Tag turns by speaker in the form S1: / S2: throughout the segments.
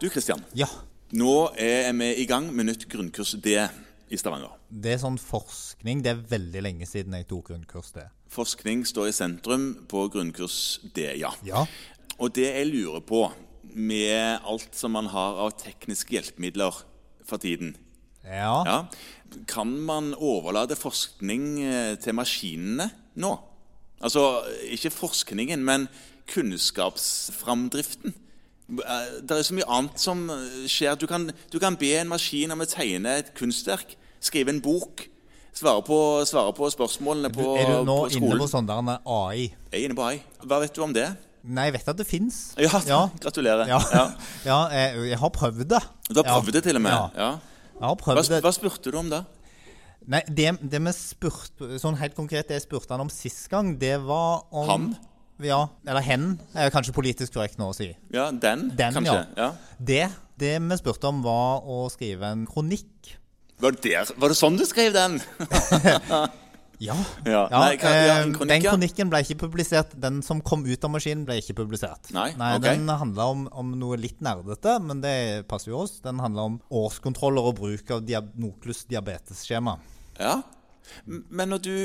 S1: Du Kristian,
S2: Ja.
S1: nå er vi i gang med nytt grunnkurs D i Stavanger.
S2: Det er sånn forskning. Det er veldig lenge siden jeg tok grunnkurs det.
S1: Forskning står i sentrum på grunnkurs D, ja.
S2: Ja.
S1: Og det jeg lurer på, med alt som man har av tekniske hjelpemidler for tiden
S2: Ja.
S1: ja, Kan man overlate forskning eh, til maskinene nå? Altså ikke forskningen, men kunnskapsframdriften. Eh, Det er så mye annet som eh, skjer. Du kan, du kan be en maskin om å tegne et kunstverk, skrive en bok, svare på, svare på spørsmålene
S2: Du,
S1: på,
S2: er du nå
S1: på
S2: inne
S1: skolen.
S2: på sånn der en AI?
S1: Jeg er inne på AI. Hva vet du om det?
S2: Nei, jeg vet at det fins.
S1: Ja,
S2: Ja.
S1: gratulerer.
S2: Ja.
S1: Ja.
S2: ja jeg, jeg har prøvd det.
S1: Du har prøvd
S2: ja.
S1: det til og med.
S2: Ja.
S1: Ja.
S2: Jeg har
S1: Hva,
S2: prøvd det.
S1: hva spurte du om da?
S2: Nei, det, det vi spurte Sånn helt konkret, det jeg spurte han om sist gang, det var om
S1: Han?
S2: Ja. Eller hen. Er kanskje politisk korrekt nå å si.
S1: Ja, den,
S2: Den,
S1: kanskje? Ja.
S2: Det, det vi spurte om, var å skrive en kronikk.
S1: Var, det der, var det sånn du skrev den?
S2: Ja.
S1: Ja.
S2: Ja,
S1: Nei, kan- ja,
S2: eh,
S1: en kronikk,
S2: den
S1: ja.
S2: kronikken ble ikke publisert. Den som kom ut av maskinen, ble ikke publisert.
S1: Nei, ok.
S2: Den handla om, om noe litt nerdete, men det passer jo oss. Den handla om årskontroller og bruk av dia Noklus diabetesskjema.
S1: Ja. M- Men når du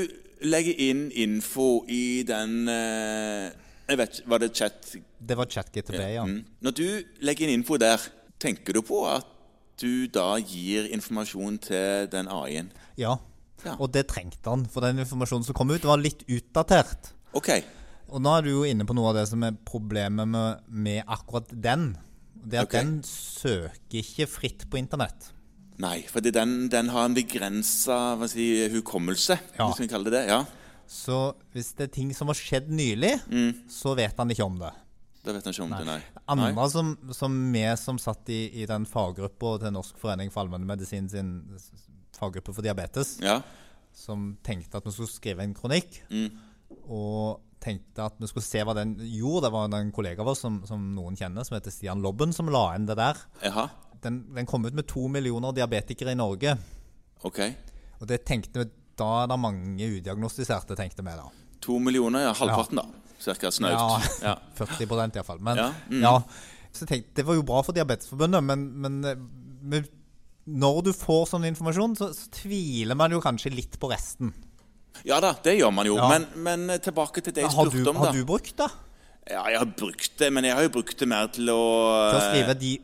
S1: legger inn info i den eh, Jeg vet ikke, var det chat?
S2: Det var ChatGTB, ja.
S1: Mm. Når du legger inn info der, tenker du på at du da gir informasjon til den AI-en?
S2: ja.
S1: Ja.
S2: Og det trengte han, for den informasjonen som kom ut, var litt utdatert.
S1: OK.
S2: Og nå er du jo inne på noe av det som er problemet med, med akkurat den. Det er at
S1: Ok.
S2: den søker ikke fritt på internett.
S1: Nei, for den, den har en begrensa si, hukommelse,
S2: Ja.
S1: hvis vi kaller det det. Ja,
S2: Så hvis det er ting som har skjedd nylig, så vet han ikke om det.
S1: Da vet han ikke om det, nei. nei.
S2: Andre som, som vi som satt i, i den faggruppa til Norsk forening for allmennmedisin sin s- s- faggruppe for diabetes,
S1: Ja.
S2: som tenkte at vi skulle skrive en kronikk, og tenkte at vi skulle se hva den gjorde. Det var en kollega av oss som, som noen kjenner, som heter Stian Lobben, som la inn det der.
S1: Jaha.
S2: Den, den kom ut med to millioner diabetikere i Norge,
S1: OK.
S2: og det tenkte vi da er det mange udiagnostiserte, tenkte vi da.
S1: To millioner, ja. Halvparten, da. Cirka snaut. Ja.
S2: Ja, 40 iallfall. Men
S1: Ja,
S2: ja.
S1: mm.
S2: Så jeg tenkte, det var jo bra for Diabetesforbundet, men, men, eh, men når du får sånn informasjon, så, så tviler man jo kanskje litt på resten.
S1: ja da, det gjør man jo.
S2: Ja.
S1: Men, men eh, tilbake til det jeg
S2: Har du,
S1: spurte om, da.
S2: har du brukt det?
S1: Ja, jeg har brukt det, men jeg har jo brukt det mer til å eh,
S2: Til å skrive de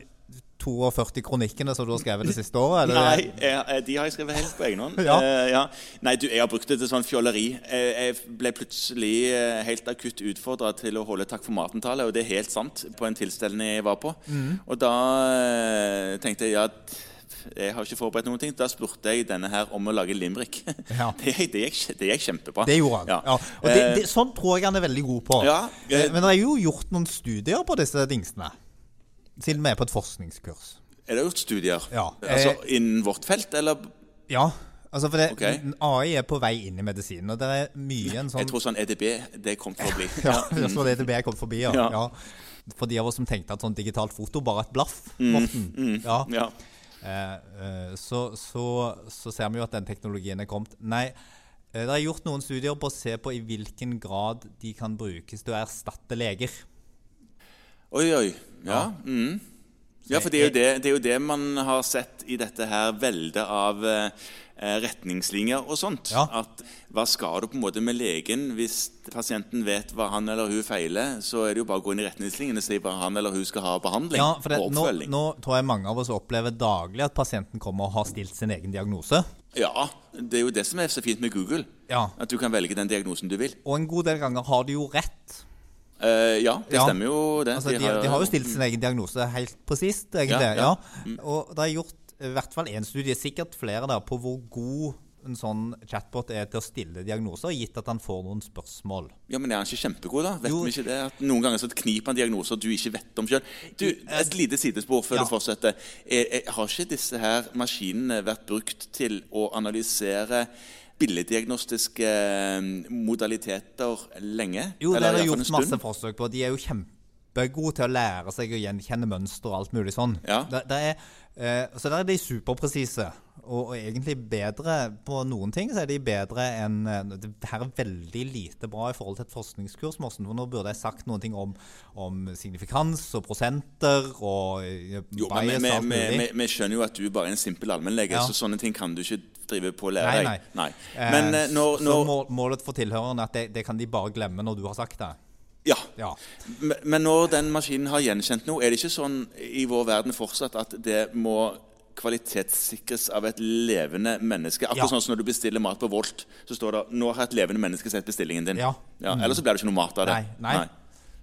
S2: 42 kronikkene som du har skrevet det siste året? Eller?
S1: Nei, jeg, jeg- de har jeg skrevet helt på egen hånd.
S2: Ja.
S1: Eh, ja. Nei, du, jeg har brukt det til sånn fjolleri. Eh, Jeg ble plutselig eh, helt akutt utfordra til å holde takk for maten-tale, og det er helt sant, på en tilstelning jeg var på.
S2: Mm.
S1: Og da eh, tenkte jeg at jeg har ikke forberedt noen ting. Da spurte jeg denne her om å lage limerick.
S2: Ja.
S1: Det, det, gikk, det gikk kjempebra.
S2: Det gjorde han.
S1: Ja.
S2: Ja. Og det,
S1: Eh,
S2: det, sånn tror jeg han er veldig god på.
S1: Ja, eh,
S2: Eh, Men det er jo gjort noen studier på disse dingsene. Siden vi er på et forskningskurs.
S1: Er det gjort studier?
S2: Ja. Eh,
S1: Altså innen vårt felt, eller?
S2: Ja, altså for det,
S1: Ok.
S2: AI er på vei inn i medisinen, og det er mye en sånn
S1: Jeg tror sånn EDB, det kom for å bli.
S2: Ja, jeg så det til jeg kom forbi, ja.
S1: Ja.
S2: ja. For de av oss som tenkte at sånn digitalt foto bare er et blaff, Morten. Mm, Ja.
S1: Ja.
S2: Eh, eh, så, så, så ser vi jo at den teknologien er kommet. Nei, eh, det er gjort noen studier på å se på i hvilken grad de kan brukes til å erstatte leger.
S1: Oi, oi. Ja. Mm. ja for det er, jo det, det er jo det man har sett i dette her veldet av eh, retningslinjer og sånt.
S2: Ja.
S1: At hva skal du på en måte med legen hvis pasienten vet hva han eller hun feiler? Så er det jo bare å gå inn i retningslinjene og si hva han eller hun skal ha av behandling
S2: Ja, for det,
S1: og
S2: nå,
S1: oppfølging.
S2: nå tror jeg mange av oss opplever daglig at pasienten kommer og har stilt sin egen diagnose.
S1: Ja, det er jo det som er så fint med Google.
S2: Ja.
S1: At du kan velge den diagnosen du vil.
S2: Og en god del ganger har de jo rett.
S1: Eh, ja, det
S2: Ja.
S1: stemmer jo, det.
S2: Altså, de, de har jo stilt sin egen diagnose helt presist, egentlig.
S1: Ja,
S2: Ja,
S1: ja.
S2: Og det er gjort eh, i hvert fall én studie, sikkert flere, der, på hvor god en sånn chatbot er til å stille diagnoser, gitt at han får noen spørsmål.
S1: Ja, men er han ikke kjempegod, da? Vet
S2: Jo.
S1: vi ikke det? At noen ganger så kniper han diagnoser du ikke vet om sjøl. Du, et lite sidespor før
S2: eh, Ja.
S1: du fortsetter. Er, er, har ikke disse her maskinene vært brukt til å analysere billeddiagnostiske eh, modaliteter lenge?
S2: Jo, det
S1: Eller
S2: er
S1: i hvert
S2: det
S1: fall en
S2: gjort
S1: stund?
S2: masse forsøk på. De er jo kjempe kjempegod til å lære seg å gjenkjenne mønster og alt mulig sånn.
S1: Ja.
S2: Der, der er, eh, så der er de superpresise, og, og egentlig bedre på noen ting. så er de bedre enn eh, Det her er veldig lite bra i forhold til et forskningskurs, Morten. For nå burde jeg sagt noen ting om, om signifikans og prosenter og eh, bias
S1: Jo,
S2: og
S1: men vi,
S2: alt
S1: vi, vi,
S2: mulig.
S1: vi skjønner jo at du bare er en simpel allmennlege,
S2: Ja.
S1: så sånne ting kan du ikke drive på å lære
S2: Nei,
S1: deg.
S2: nei. Eh,
S1: Men eh, når,
S2: Så
S1: når
S2: må- målet for tilhørerne er at det, det kan de bare glemme når du har sagt det.
S1: Ja.
S2: Ja.
S1: Men- Men når den maskinen har gjenkjent noe, er det ikke sånn i vår verden fortsatt at det må kvalitetssikres av et levende menneske? Akkurat
S2: Ja.
S1: sånn som når du bestiller mat på Volt, så står det 'Nå har et levende menneske sett bestillingen din'.
S2: Ja.
S1: Ellers så blir det ikke noe mat av det.
S2: Nei, nei.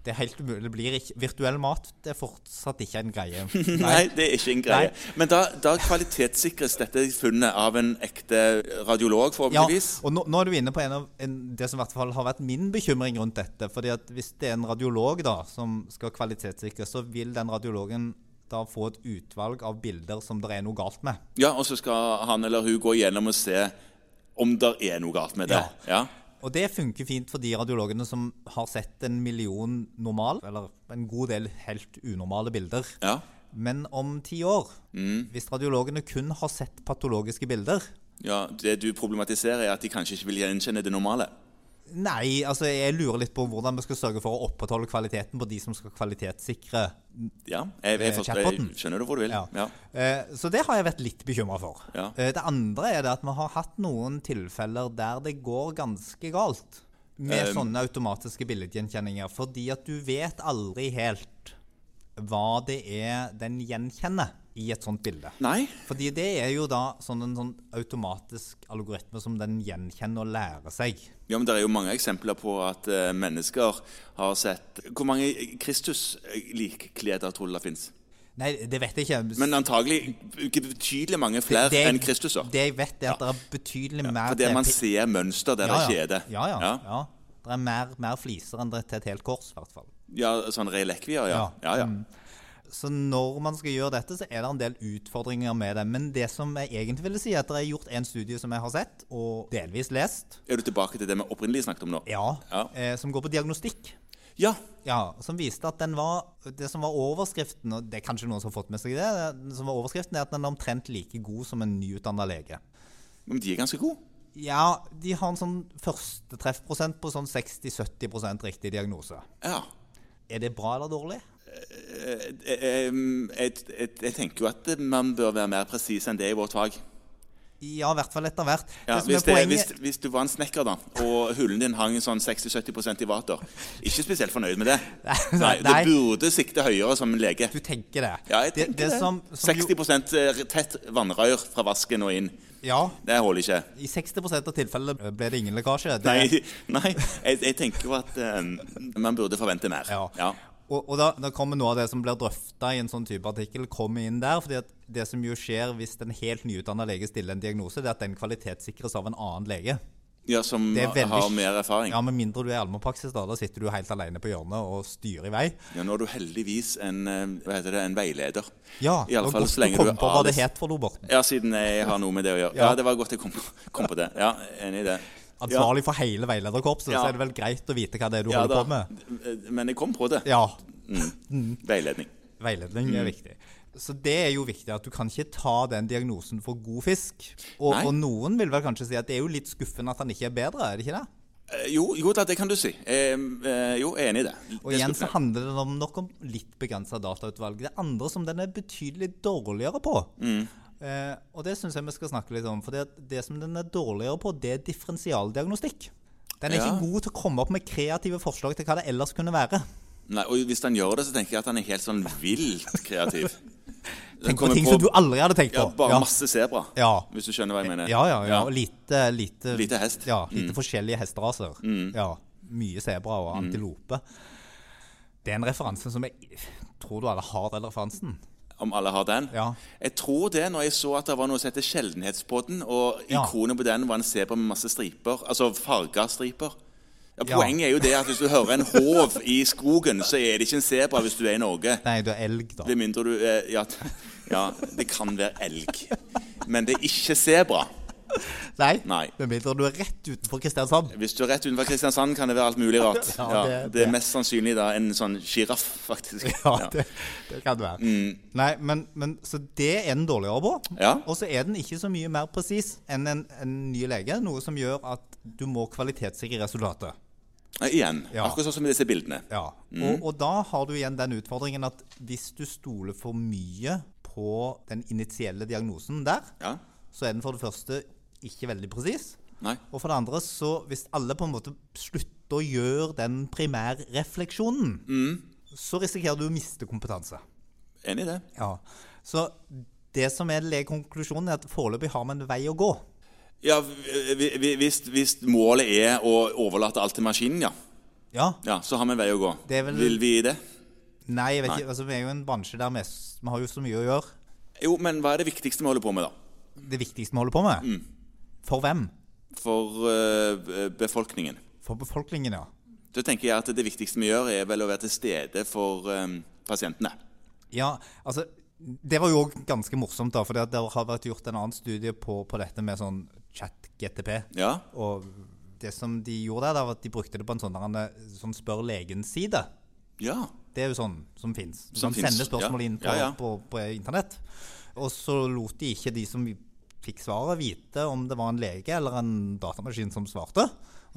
S2: Det er helt umulig. Det blir ikke, virtuell mat det er fortsatt ikke en greie.
S1: Nei, det er ikke en greie. Men da, da kvalitetssikres dette funnet av en ekte radiolog,
S2: Ja,
S1: forhåpentligvis?
S2: og nå, nå er du inne på en av en, det som i hvert fall har vært min bekymring rundt dette. fordi at Hvis det er en radiolog da, som skal kvalitetssikre, så vil den radiologen da få et utvalg av bilder som det er noe galt med.
S1: Ja, og så skal han eller hun gå igjennom og se om det er noe galt med det. Ja.
S2: Og det funker fint for de radiologene som har sett en million normal, eller en god del helt unormale bilder.
S1: Ja.
S2: Men om ti år, hvis radiologene kun har sett patologiske bilder,
S1: ja. Det du problematiserer, er at de kanskje ikke vil gjenkjenne det normale.
S2: Nei, altså jeg lurer litt på hvordan vi skal sørge for å opprettholde kvaliteten på de som skal kvalitetssikre.
S1: Ja, jeg, jeg,
S2: Eh,
S1: forstår, jeg
S2: chatboten.
S1: skjønner du hvor du vil.
S2: Ja.
S1: Ja.
S2: Eh, Så det har jeg vært litt bekymra for.
S1: Ja.
S2: Eh, Det andre er det at vi har hatt noen tilfeller der det går ganske galt med sånne automatiske billedgjenkjenninger, fordi at du vet aldri helt hva det er den gjenkjenner i et sånt bilde.
S1: Nei?
S2: Fordi det er jo da sånn en sånn automatisk algoritme som den gjenkjenner og lærer seg.
S1: Ja, men Det er jo mange eksempler på at eh, mennesker har sett Hvor mange Kristus-likkleder tror du det fins?
S2: Nei, det vet jeg ikke.
S1: Men antagelig ikke betydelig mange flere
S2: Det- det-
S1: enn Kristuser.
S2: Det jeg vet, er at det er betydelig mer
S1: Fordi man
S2: til-
S1: ser mønster der det
S2: ja,
S1: skjer.
S2: ja, ja, ja. ja. Det er mer, mer fliser enn det er til et helt kors, i hvert fall.
S1: ja, sånn relekvier, ja.
S2: Ja. Mm.
S1: ja, ja.
S2: Så når man skal gjøre dette, så er det en del utfordringer med det. Men det som jeg egentlig ville si, er at det er gjort en studie som jeg har sett, og delvis lest,
S1: Er du tilbake til det vi opprinnelig snakket om nå?
S2: ja,
S1: Ja.
S2: Eh, som går på diagnostikk.
S1: Ja,
S2: Ja, som viste at den var Det som var overskriften, og det er kanskje noen som har fått med seg det, det som var overskriften er at den er omtrent like god som en nyutdanna lege.
S1: men de er ganske gode.
S2: Ja, de har en sånn første treffprosent på sånn 60-70 riktig diagnose.
S1: Ja.
S2: Er det bra eller dårlig?
S1: Eh, eh, Jeg, jeg, jeg tenker jo at eh, man bør være mer presis enn det i vårt fag.
S2: Ja, i hvert fall etter hvert.
S1: Ja,
S2: det som
S1: hvis,
S2: er
S1: det,
S2: poenget,
S1: hvis, hvis du var en snekker, da, og hullen din hang sånn 60-70 i vater Ikke spesielt fornøyd med det. Nei,
S2: Nei,
S1: Du burde sikte høyere som en lege.
S2: du tenker det.
S1: Ja, jeg
S2: det,
S1: tenker
S2: det
S1: det.
S2: som, som jo,
S1: 60 tett vannrør fra vasken og inn.
S2: Ja,
S1: Det holder ikke.
S2: i 60 av tilfellene ble det ingen lekkasje. Det,
S1: Nei, nei jeg, jeg tenker jo at eh, man burde forvente mer.
S2: Ja.
S1: Ja.
S2: Og, og da, da kommer noe av det som blir drøfta i en sånn type artikkel, kommer inn der. fordi at det som jo skjer hvis en helt nyutdanna lege stiller en diagnose, det er at den kvalitetssikres av en annen lege.
S1: ja som
S2: Det er veldig-
S1: har mer erfaring.
S2: Ja, Med mindre du er allmennpraksis, da, da sitter du helt alene på hjørnet og styrer i vei.
S1: Ja, nå er du heldigvis en, eh, hva heter det, en veileder.
S2: Ja,
S1: I alle
S2: det var
S1: fall
S2: godt
S1: så lenge
S2: du
S1: du
S2: kom
S1: er
S2: på hva det
S1: ALS.
S2: het for noe, Borten.
S1: Ja, siden jeg har noe med det å gjøre. Ja,
S2: Ja.
S1: det var godt jeg kom på, kom på det. Ja, Enig i det. Ja,
S2: Ansvarlig for hele veilederkorpset,
S1: Ja.
S2: så er det vel greit å vite hva det er du
S1: ja,
S2: holder
S1: da.
S2: på med.
S1: Men jeg kom på det.
S2: Ja,
S1: Veiledning.
S2: veiledning
S1: Mm.
S2: er viktig. Så det er jo viktig at du kan ikke ta den diagnosen for god fisk. Og,
S1: Nei.
S2: og noen vil vel kanskje si at det er jo litt skuffende at han ikke er bedre, er det ikke det?
S1: Eh, Jo, jo da, det kan du si. Eh, eh, jo, jeg er enig i det.
S2: Og
S1: Det
S2: igjen så
S1: skulle-
S2: handler det om nok om litt begrensa datautvalg. Det andre som den er betydelig dårligere på.
S1: Mm.
S2: Eh, og det syns jeg vi skal snakke litt om. For det, det som den er dårligere på, det er differensialdiagnostikk. Den er
S1: Ja.
S2: ikke god til å komme opp med kreative forslag til hva det ellers kunne være.
S1: Nei, og hvis han gjør det, så tenker jeg at han er helt sånn vilt kreativ.
S2: Tenk på
S1: Kommer
S2: ting som du aldri hadde tenkt på.
S1: ja, Bare
S2: Ja.
S1: masse sebra,
S2: Ja.
S1: hvis du skjønner hva jeg mener.
S2: Ja, ja, ja. Og lite, lite,
S1: Lite hest. Mm.
S2: Ja, lite forskjellige hesteraser. Ja, mye sebra og antilope. Det er en referanse som jeg Tror du alle har den referansen?
S1: Om alle har den?
S2: Ja.
S1: Jeg tror det, når jeg så at det var noe som heter Sjeldenhetspodden, og
S2: Ja.
S1: ikonet på den var en sebra med masse striper, altså farga striper. Ja,
S2: Ja.
S1: poenget er jo det at hvis du hører en hov i skogen, så er det ikke en sebra hvis du er i Norge.
S2: Nei, du er elg, da.
S1: Det mindre du eh, ja, t- ja, det kan være elg. Men det er ikke sebra.
S2: Nei.
S1: Nei.
S2: Med mindre du er rett utenfor Kristiansand.
S1: Hvis du er rett utenfor Kristiansand, kan det være alt mulig rart.
S2: Ja,
S1: Ja, det
S2: det- det-
S1: er mest sannsynlig da en sånn sjiraff, faktisk.
S2: Ja, det, det kan det være. Nei, men, men, så det er den dårligere på.
S1: Mm. Ja.
S2: Og så er den ikke så mye mer presis enn en, en ny lege, noe som gjør at du må kvalitetssikre resultatet.
S1: Ja, Igjen.
S2: Ja.
S1: Akkurat sånn som i disse bildene.
S2: Ja.
S1: Mm.
S2: Og, og da har du igjen den utfordringen at hvis du stoler for mye på den initielle diagnosen der,
S1: Ja.
S2: så er den for det første ikke veldig presis.
S1: Nei.
S2: Og for det andre, så hvis alle på en måte slutter å gjøre den primærrefleksjonen, så risikerer du å miste kompetanse.
S1: Enig i det.
S2: Ja. Så det som er legekonklusjonen, er at foreløpig har vi en vei å gå.
S1: Ja, vi- vi- vi- hvis, hvis målet er å overlate alt til maskinen, ja.
S2: Ja.
S1: ja så har vi en vei å gå.
S2: Det er vel-
S1: Vil vi det?
S2: Nei, jeg vet
S1: Nei.
S2: ikke. Altså, vi er jo en bransje der vi, s- vi har jo så mye å gjøre.
S1: Jo, men hva er det viktigste vi holder på med, da?
S2: Det viktigste vi holder på med. For hvem?
S1: For eh, befolkningen.
S2: For befolkningen, ja.
S1: Da tenker jeg at det viktigste vi gjør, er vel å være til stede for eh, pasientene.
S2: Ja, altså Det var jo òg ganske morsomt, da. For det har vært gjort en annen studie på, på dette med sånn chat-GTP.
S1: Ja.
S2: Og det som de gjorde der, det var at de brukte det på en sånn der, en sånn spør legen-side.
S1: Ja.
S2: Det er jo sånn som fins.
S1: Som
S2: Som
S1: finnes,
S2: sender spørsmål
S1: ja.
S2: inn på,
S1: Ja, ja.
S2: på, på internett. Og så lot de ikke de som fikk svaret, vite om det var en lege eller en datamaskin som svarte.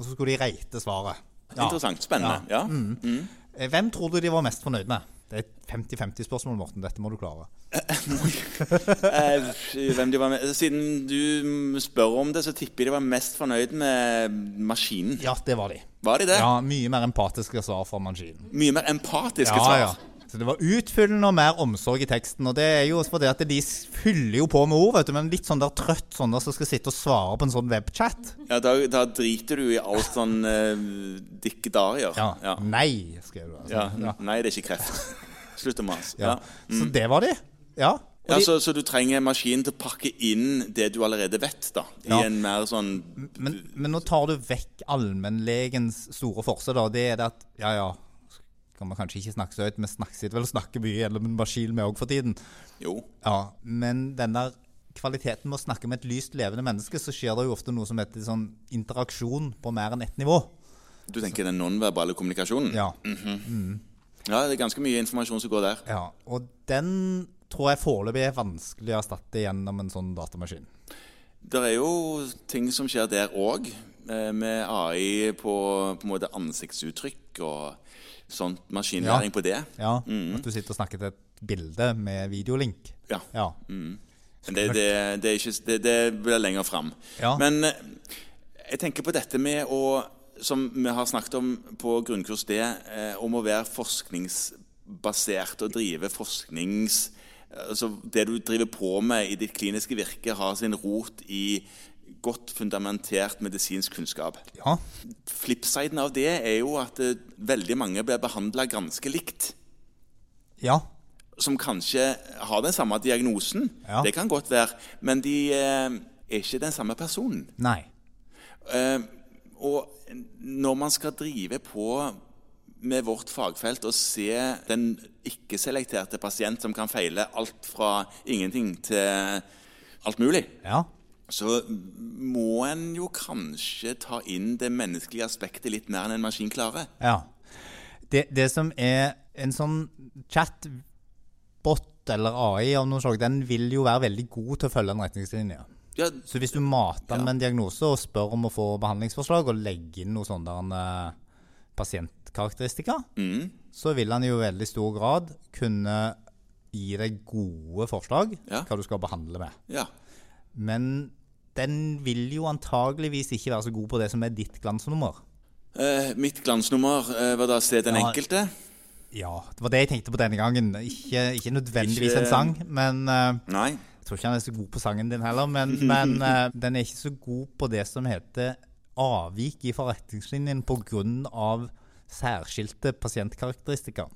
S2: Og så skulle de reite svaret. Ja.
S1: Interessant. Spennende. Ja.
S2: Eh, Hvem tror du de var mest fornøyd med? Det er et 50-50-spørsmål, Morten. Dette må du klare.
S1: Eh, Hvem de var med Siden du spør om det, så tipper jeg de var mest fornøyd med maskinen.
S2: Ja, det var de.
S1: Var de det?
S2: Ja, Mye mer empatiske svar fra maskinen.
S1: Mye mer empatiske svar.
S2: Så det var utfyllende og mer omsorg i teksten. Og det er jo fordi at de s- fyller jo på med ord, vet du. Men litt sånn der trøtt sånn der som skal sitte og svare på en sånn webchat.
S1: Ja, da, da driter du i alt sånn uh, dikkedarier.
S2: Ja.
S1: Ja.
S2: Nei, skrev du. Altså.
S1: Ja. Nei, det er ikke kreft. Slutt å mase.
S2: Ja.
S1: Ja.
S2: Så det var de. Ja. Og
S1: Ja,
S2: de,
S1: så, så du trenger maskinen til å pakke inn det du allerede vet, da. I
S2: Ja.
S1: en mer sånn
S2: men, men nå tar du vekk allmennlegens store forse, da. Det er det at ja, ja, kan man kanskje ikke snakke så høyt, men snakk- sitter vel og snakker mye gjennom en maskin med òg for tiden.
S1: Jo.
S2: Ja, men den der kvaliteten med å snakke med et lyst, levende menneske, så skjer det jo ofte noe som heter sånn interaksjon på mer enn ett nivå.
S1: Du tenker den nonverbale kommunikasjonen?
S2: Ja,
S1: Ja, det er ganske mye informasjon som går der.
S2: ja. Og den tror jeg foreløpig er vanskelig å erstatte gjennom en sånn datamaskin.
S1: Det er jo ting som skjer der òg, eh, med AI på, på en måte ansiktsuttrykk og sånt. Maskinlæring
S2: Ja.
S1: på det.
S2: Ja, At du sitter og snakker til et bilde med videolink.
S1: Ja.
S2: Ja.
S1: Men det, det, det, er ikke, det, det blir lenger fram.
S2: Ja.
S1: Men eh, jeg tenker på dette med å Som vi har snakket om på grunnkurs D, eh, om å være forskningsbasert og drive forsknings... Altså det du driver på med i ditt kliniske virke, har sin rot i godt fundamentert medisinsk kunnskap.
S2: ja.
S1: Flipsiden av det er jo at eh, veldig mange blir behandla ganske likt.
S2: Ja.
S1: Som kanskje har den samme diagnosen,
S2: Ja.
S1: det kan godt være, men de eh, er ikke den samme personen.
S2: Nei.
S1: Eh, og når man skal drive på med vårt fagfelt og se den ikke-selekterte pasient som kan feile alt fra ingenting til alt mulig,
S2: Ja.
S1: så må en jo kanskje ta inn det menneskelige aspektet litt mer enn en maskin klarer.
S2: Ja. Det, det som er en sånn chatbot eller AI av noe slag, den vil jo være veldig god til å følge en retningslinje.
S1: Ja,
S2: Så hvis du mater den
S1: Ja.
S2: med en diagnose og spør om å få behandlingsforslag, og legger inn noen sånne der, eh, pasientkarakteristikker,
S1: Mm.
S2: så vil han jo i veldig stor grad kunne gi deg gode forslag
S1: Ja.
S2: hva du skal behandle med.
S1: ja.
S2: Men den vil jo antageligvis ikke være så god på det som er ditt glansnummer.
S1: Eh, mitt glansnummer eh, var da å se den
S2: Ja,
S1: enkelte.
S2: Ja, det var det jeg tenkte på denne gangen. Ikke, ikke nødvendigvis
S1: Ikke-
S2: en sang, men eh,
S1: Nei.
S2: Jeg tror ikke han er så god på sangen din heller, men, men eh, den er ikke så god på det som heter avvik i forretningslinjen pga. særskilte pasientkarakteristikker.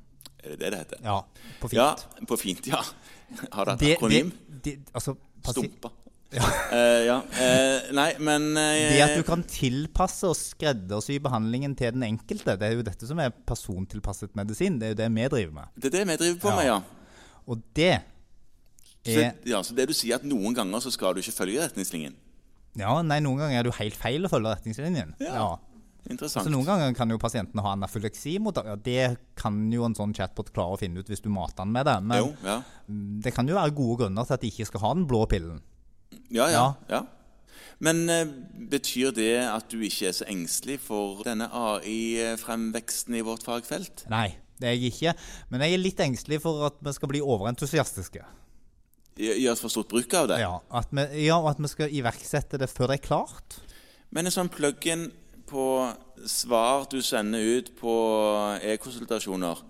S1: Er det det det heter?
S2: Ja, på fint.
S1: Ja, på fint, ja. Har det
S2: det,
S1: et akronym?
S2: det, det, altså, pasi-
S1: Stumpa. Eh, ja. Eh, nei, men eh,
S2: det at du kan tilpasse og skreddersy behandlingen til den enkelte, det er jo dette som er persontilpasset medisin. Det er jo det vi driver med.
S1: Det er det vi driver på
S2: Ja. Eh.
S1: med, ja.
S2: Og det
S1: Så,
S2: er
S1: ja. så det du sier at noen ganger så skal du ikke følge retningslinjen?
S2: Ja, nei, noen ganger er det jo helt feil å følge retningslinjen.
S1: Ja.
S2: Så
S1: Interessant.
S2: noen ganger kan jo pasientene ha anafyleksi mot det. Ja, det kan jo en sånn chatbot klare å finne ut hvis du mater den med det. Men
S1: Jo, ja.
S2: det kan jo være gode grunner til at de ikke skal ha den blå pillen.
S1: Ja, ja,
S2: Ja.
S1: ja. Men eh, betyr det at du ikke er så engstelig for denne AI-fremveksten i vårt fagfelt?
S2: Nei, det er jeg ikke. Men jeg er litt engstelig for at vi skal bli overentusiastiske.
S1: Gjø- Gjøres for stort bruk av det?
S2: Ja, at vi, ja, og at vi skal iverksette det før det er klart.
S1: Men en sånn plug-in på svar du sender ut på e-konsultasjoner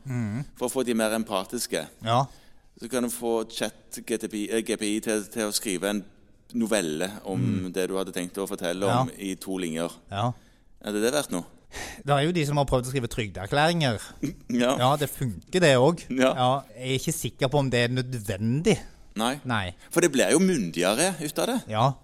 S1: for å få de mer empatiske,
S2: Ja,
S1: så kan du få chat-GPI til, til å skrive en novelle om det du hadde tenkt å fortelle om
S2: Ja.
S1: i to linjer.
S2: ja.
S1: Hadde det vært noe?
S2: Det er jo de som har prøvd å skrive trygdeerklæringer.
S1: Ja.
S2: Ja, det funker det òg.
S1: Ja.
S2: jeg er ikke sikker på om det er nødvendig.
S1: Nei.
S2: Nei.
S1: For det blir jo myndigere ut av det.
S2: Ja.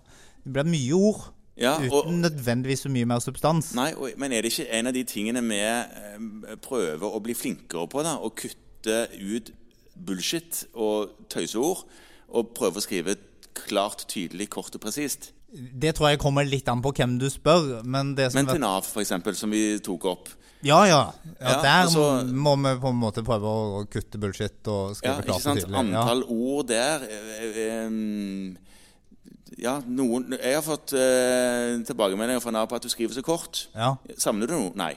S2: Det blir mye ord,
S1: Ja,
S2: uten
S1: og,
S2: nødvendigvis så mye mer substans.
S1: nei, og, men er det ikke en av de tingene vi eh, prøver å bli flinkere på, da? Å kutte ut bullshit og tøyseord, og prøve å skrive klart, tydelig, kort og presist?
S2: Det tror jeg kommer litt an på hvem du spør, men det som
S1: Men til Nav, for eksempel, som vi tok opp.
S2: Ja, ja. ja,
S1: Ja,
S2: Der
S1: altså-
S2: må vi på en måte prøve å kutte bullshit og
S1: Ja,
S2: skrive
S1: ikke
S2: klart og
S1: sant?
S2: tydelig. Ja.
S1: Antall ord der eh, eh, Ja, noen Jeg har fått eh, tilbakemeldinger fra Nav på at du skriver så kort.
S2: Ja.
S1: Savner du noe? Nei.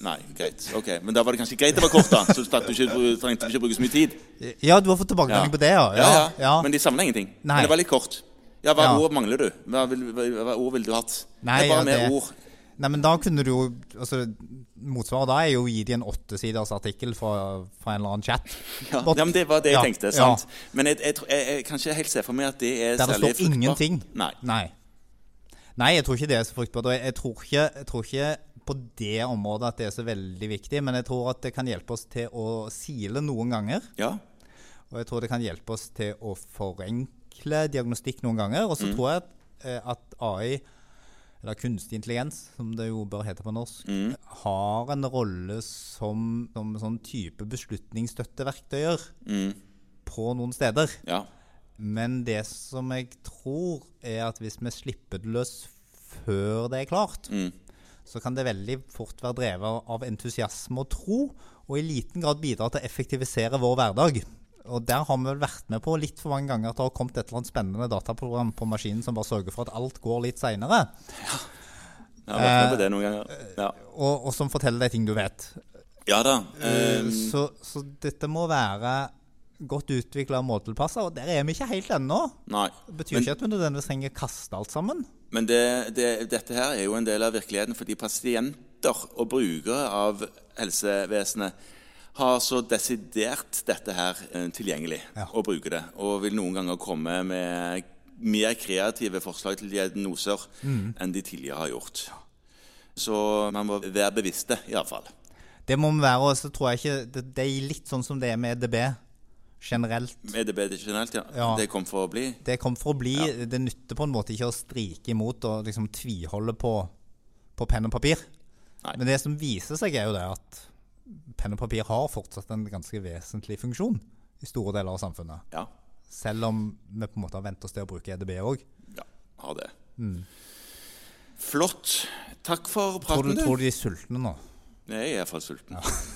S1: Nei, greit. Ok, Men da var det kanskje greit det var kort, da. Så slapp du ikke, du trengte ikke bruke så mye tid.
S2: ja, du har fått tilbakemelding på det, ja.
S1: Ja, ja.
S2: ja.
S1: Men de savna ingenting.
S2: Nei.
S1: Men det var litt kort. Ja, Hva
S2: Ja.
S1: ord mangler du? Hva, vil, hva, hva ord ville du hatt?
S2: Nei,
S1: det er bare
S2: ja,
S1: mer
S2: det-
S1: ord.
S2: Nei, men da kunne du jo altså, Motsvaret da er jo å gi dem en åttesiders artikkel fra, fra en eller annen chat.
S1: Ja.
S2: Bort-
S1: ja, men Det var det jeg
S2: Ja,
S1: tenkte.
S2: ja.
S1: sant? Men jeg, jeg, tror- jeg, jeg kan ikke helt se for meg at det er
S2: Der det
S1: særlig
S2: står ingenting.
S1: Nei.
S2: Nei. Nei, jeg tror ikke det er så fruktbart. Og jeg, jeg, tror ikke, jeg tror ikke på det området at det er så veldig viktig, men jeg tror at det kan hjelpe oss til å sile noen ganger.
S1: Ja.
S2: Og jeg tror det kan hjelpe oss til å forenkle diagnostikk noen ganger. Og så tror jeg at, eh, at AI, eller kunstig intelligens, som det jo bør hete på norsk, har en rolle som, som sånn type beslutningsstøtteverktøyer på noen steder.
S1: ja.
S2: Men det som jeg tror, er at hvis vi slipper det løs før det er klart, så kan det veldig fort være drevet av entusiasme og tro, og i liten grad bidra til å effektivisere vår hverdag. Og der har vi vel vært med på litt for mange ganger at det har kommet et eller annet spennende dataprogram på maskinen som bare sørger for at alt går litt seinere,
S1: Jeg har vært med
S2: Eh,
S1: på det noen ganger. Ja,
S2: og, og som forteller deg ting du vet.
S1: ja da. eh,
S2: Så, så dette må være godt utvikla og måltilpassa, og der er vi ikke helt ennå.
S1: nei.
S2: Det betyr ikke at vi nødvendigvis trenger å kaste alt sammen.
S1: Men det, det, dette her er jo en del av virkeligheten, fordi pasienter og brukere av helsevesenet har så desidert dette her eh, tilgjengelig
S2: Ja.
S1: og bruker det. Og vil noen ganger komme med mer kreative forslag til diagnoser
S2: Mm.
S1: enn de tidligere har gjort. Så man må være bevisste, iallfall.
S2: Det må vi være, og så tror jeg ikke det, det er litt sånn som det er med EDB generelt.
S1: Er det bedre generelt? Ja.
S2: Ja.
S1: Det kom for å bli.
S2: Det kom for å bli. Det nytter på en måte ikke å strike imot og liksom tviholde på, på penn og papir.
S1: Nei.
S2: Men det som viser seg, er jo det at penn og papir har fortsatt en ganske vesentlig funksjon i store deler av samfunnet.
S1: Ja.
S2: Selv om vi på en måte har vent oss til å bruke E EDB òg.
S1: ja ha det. Flott. Takk for
S2: Tror,
S1: praten,
S2: Mm. du-
S1: du.
S2: tror du de er sultne nå?
S1: Jeg er iallfall sulten.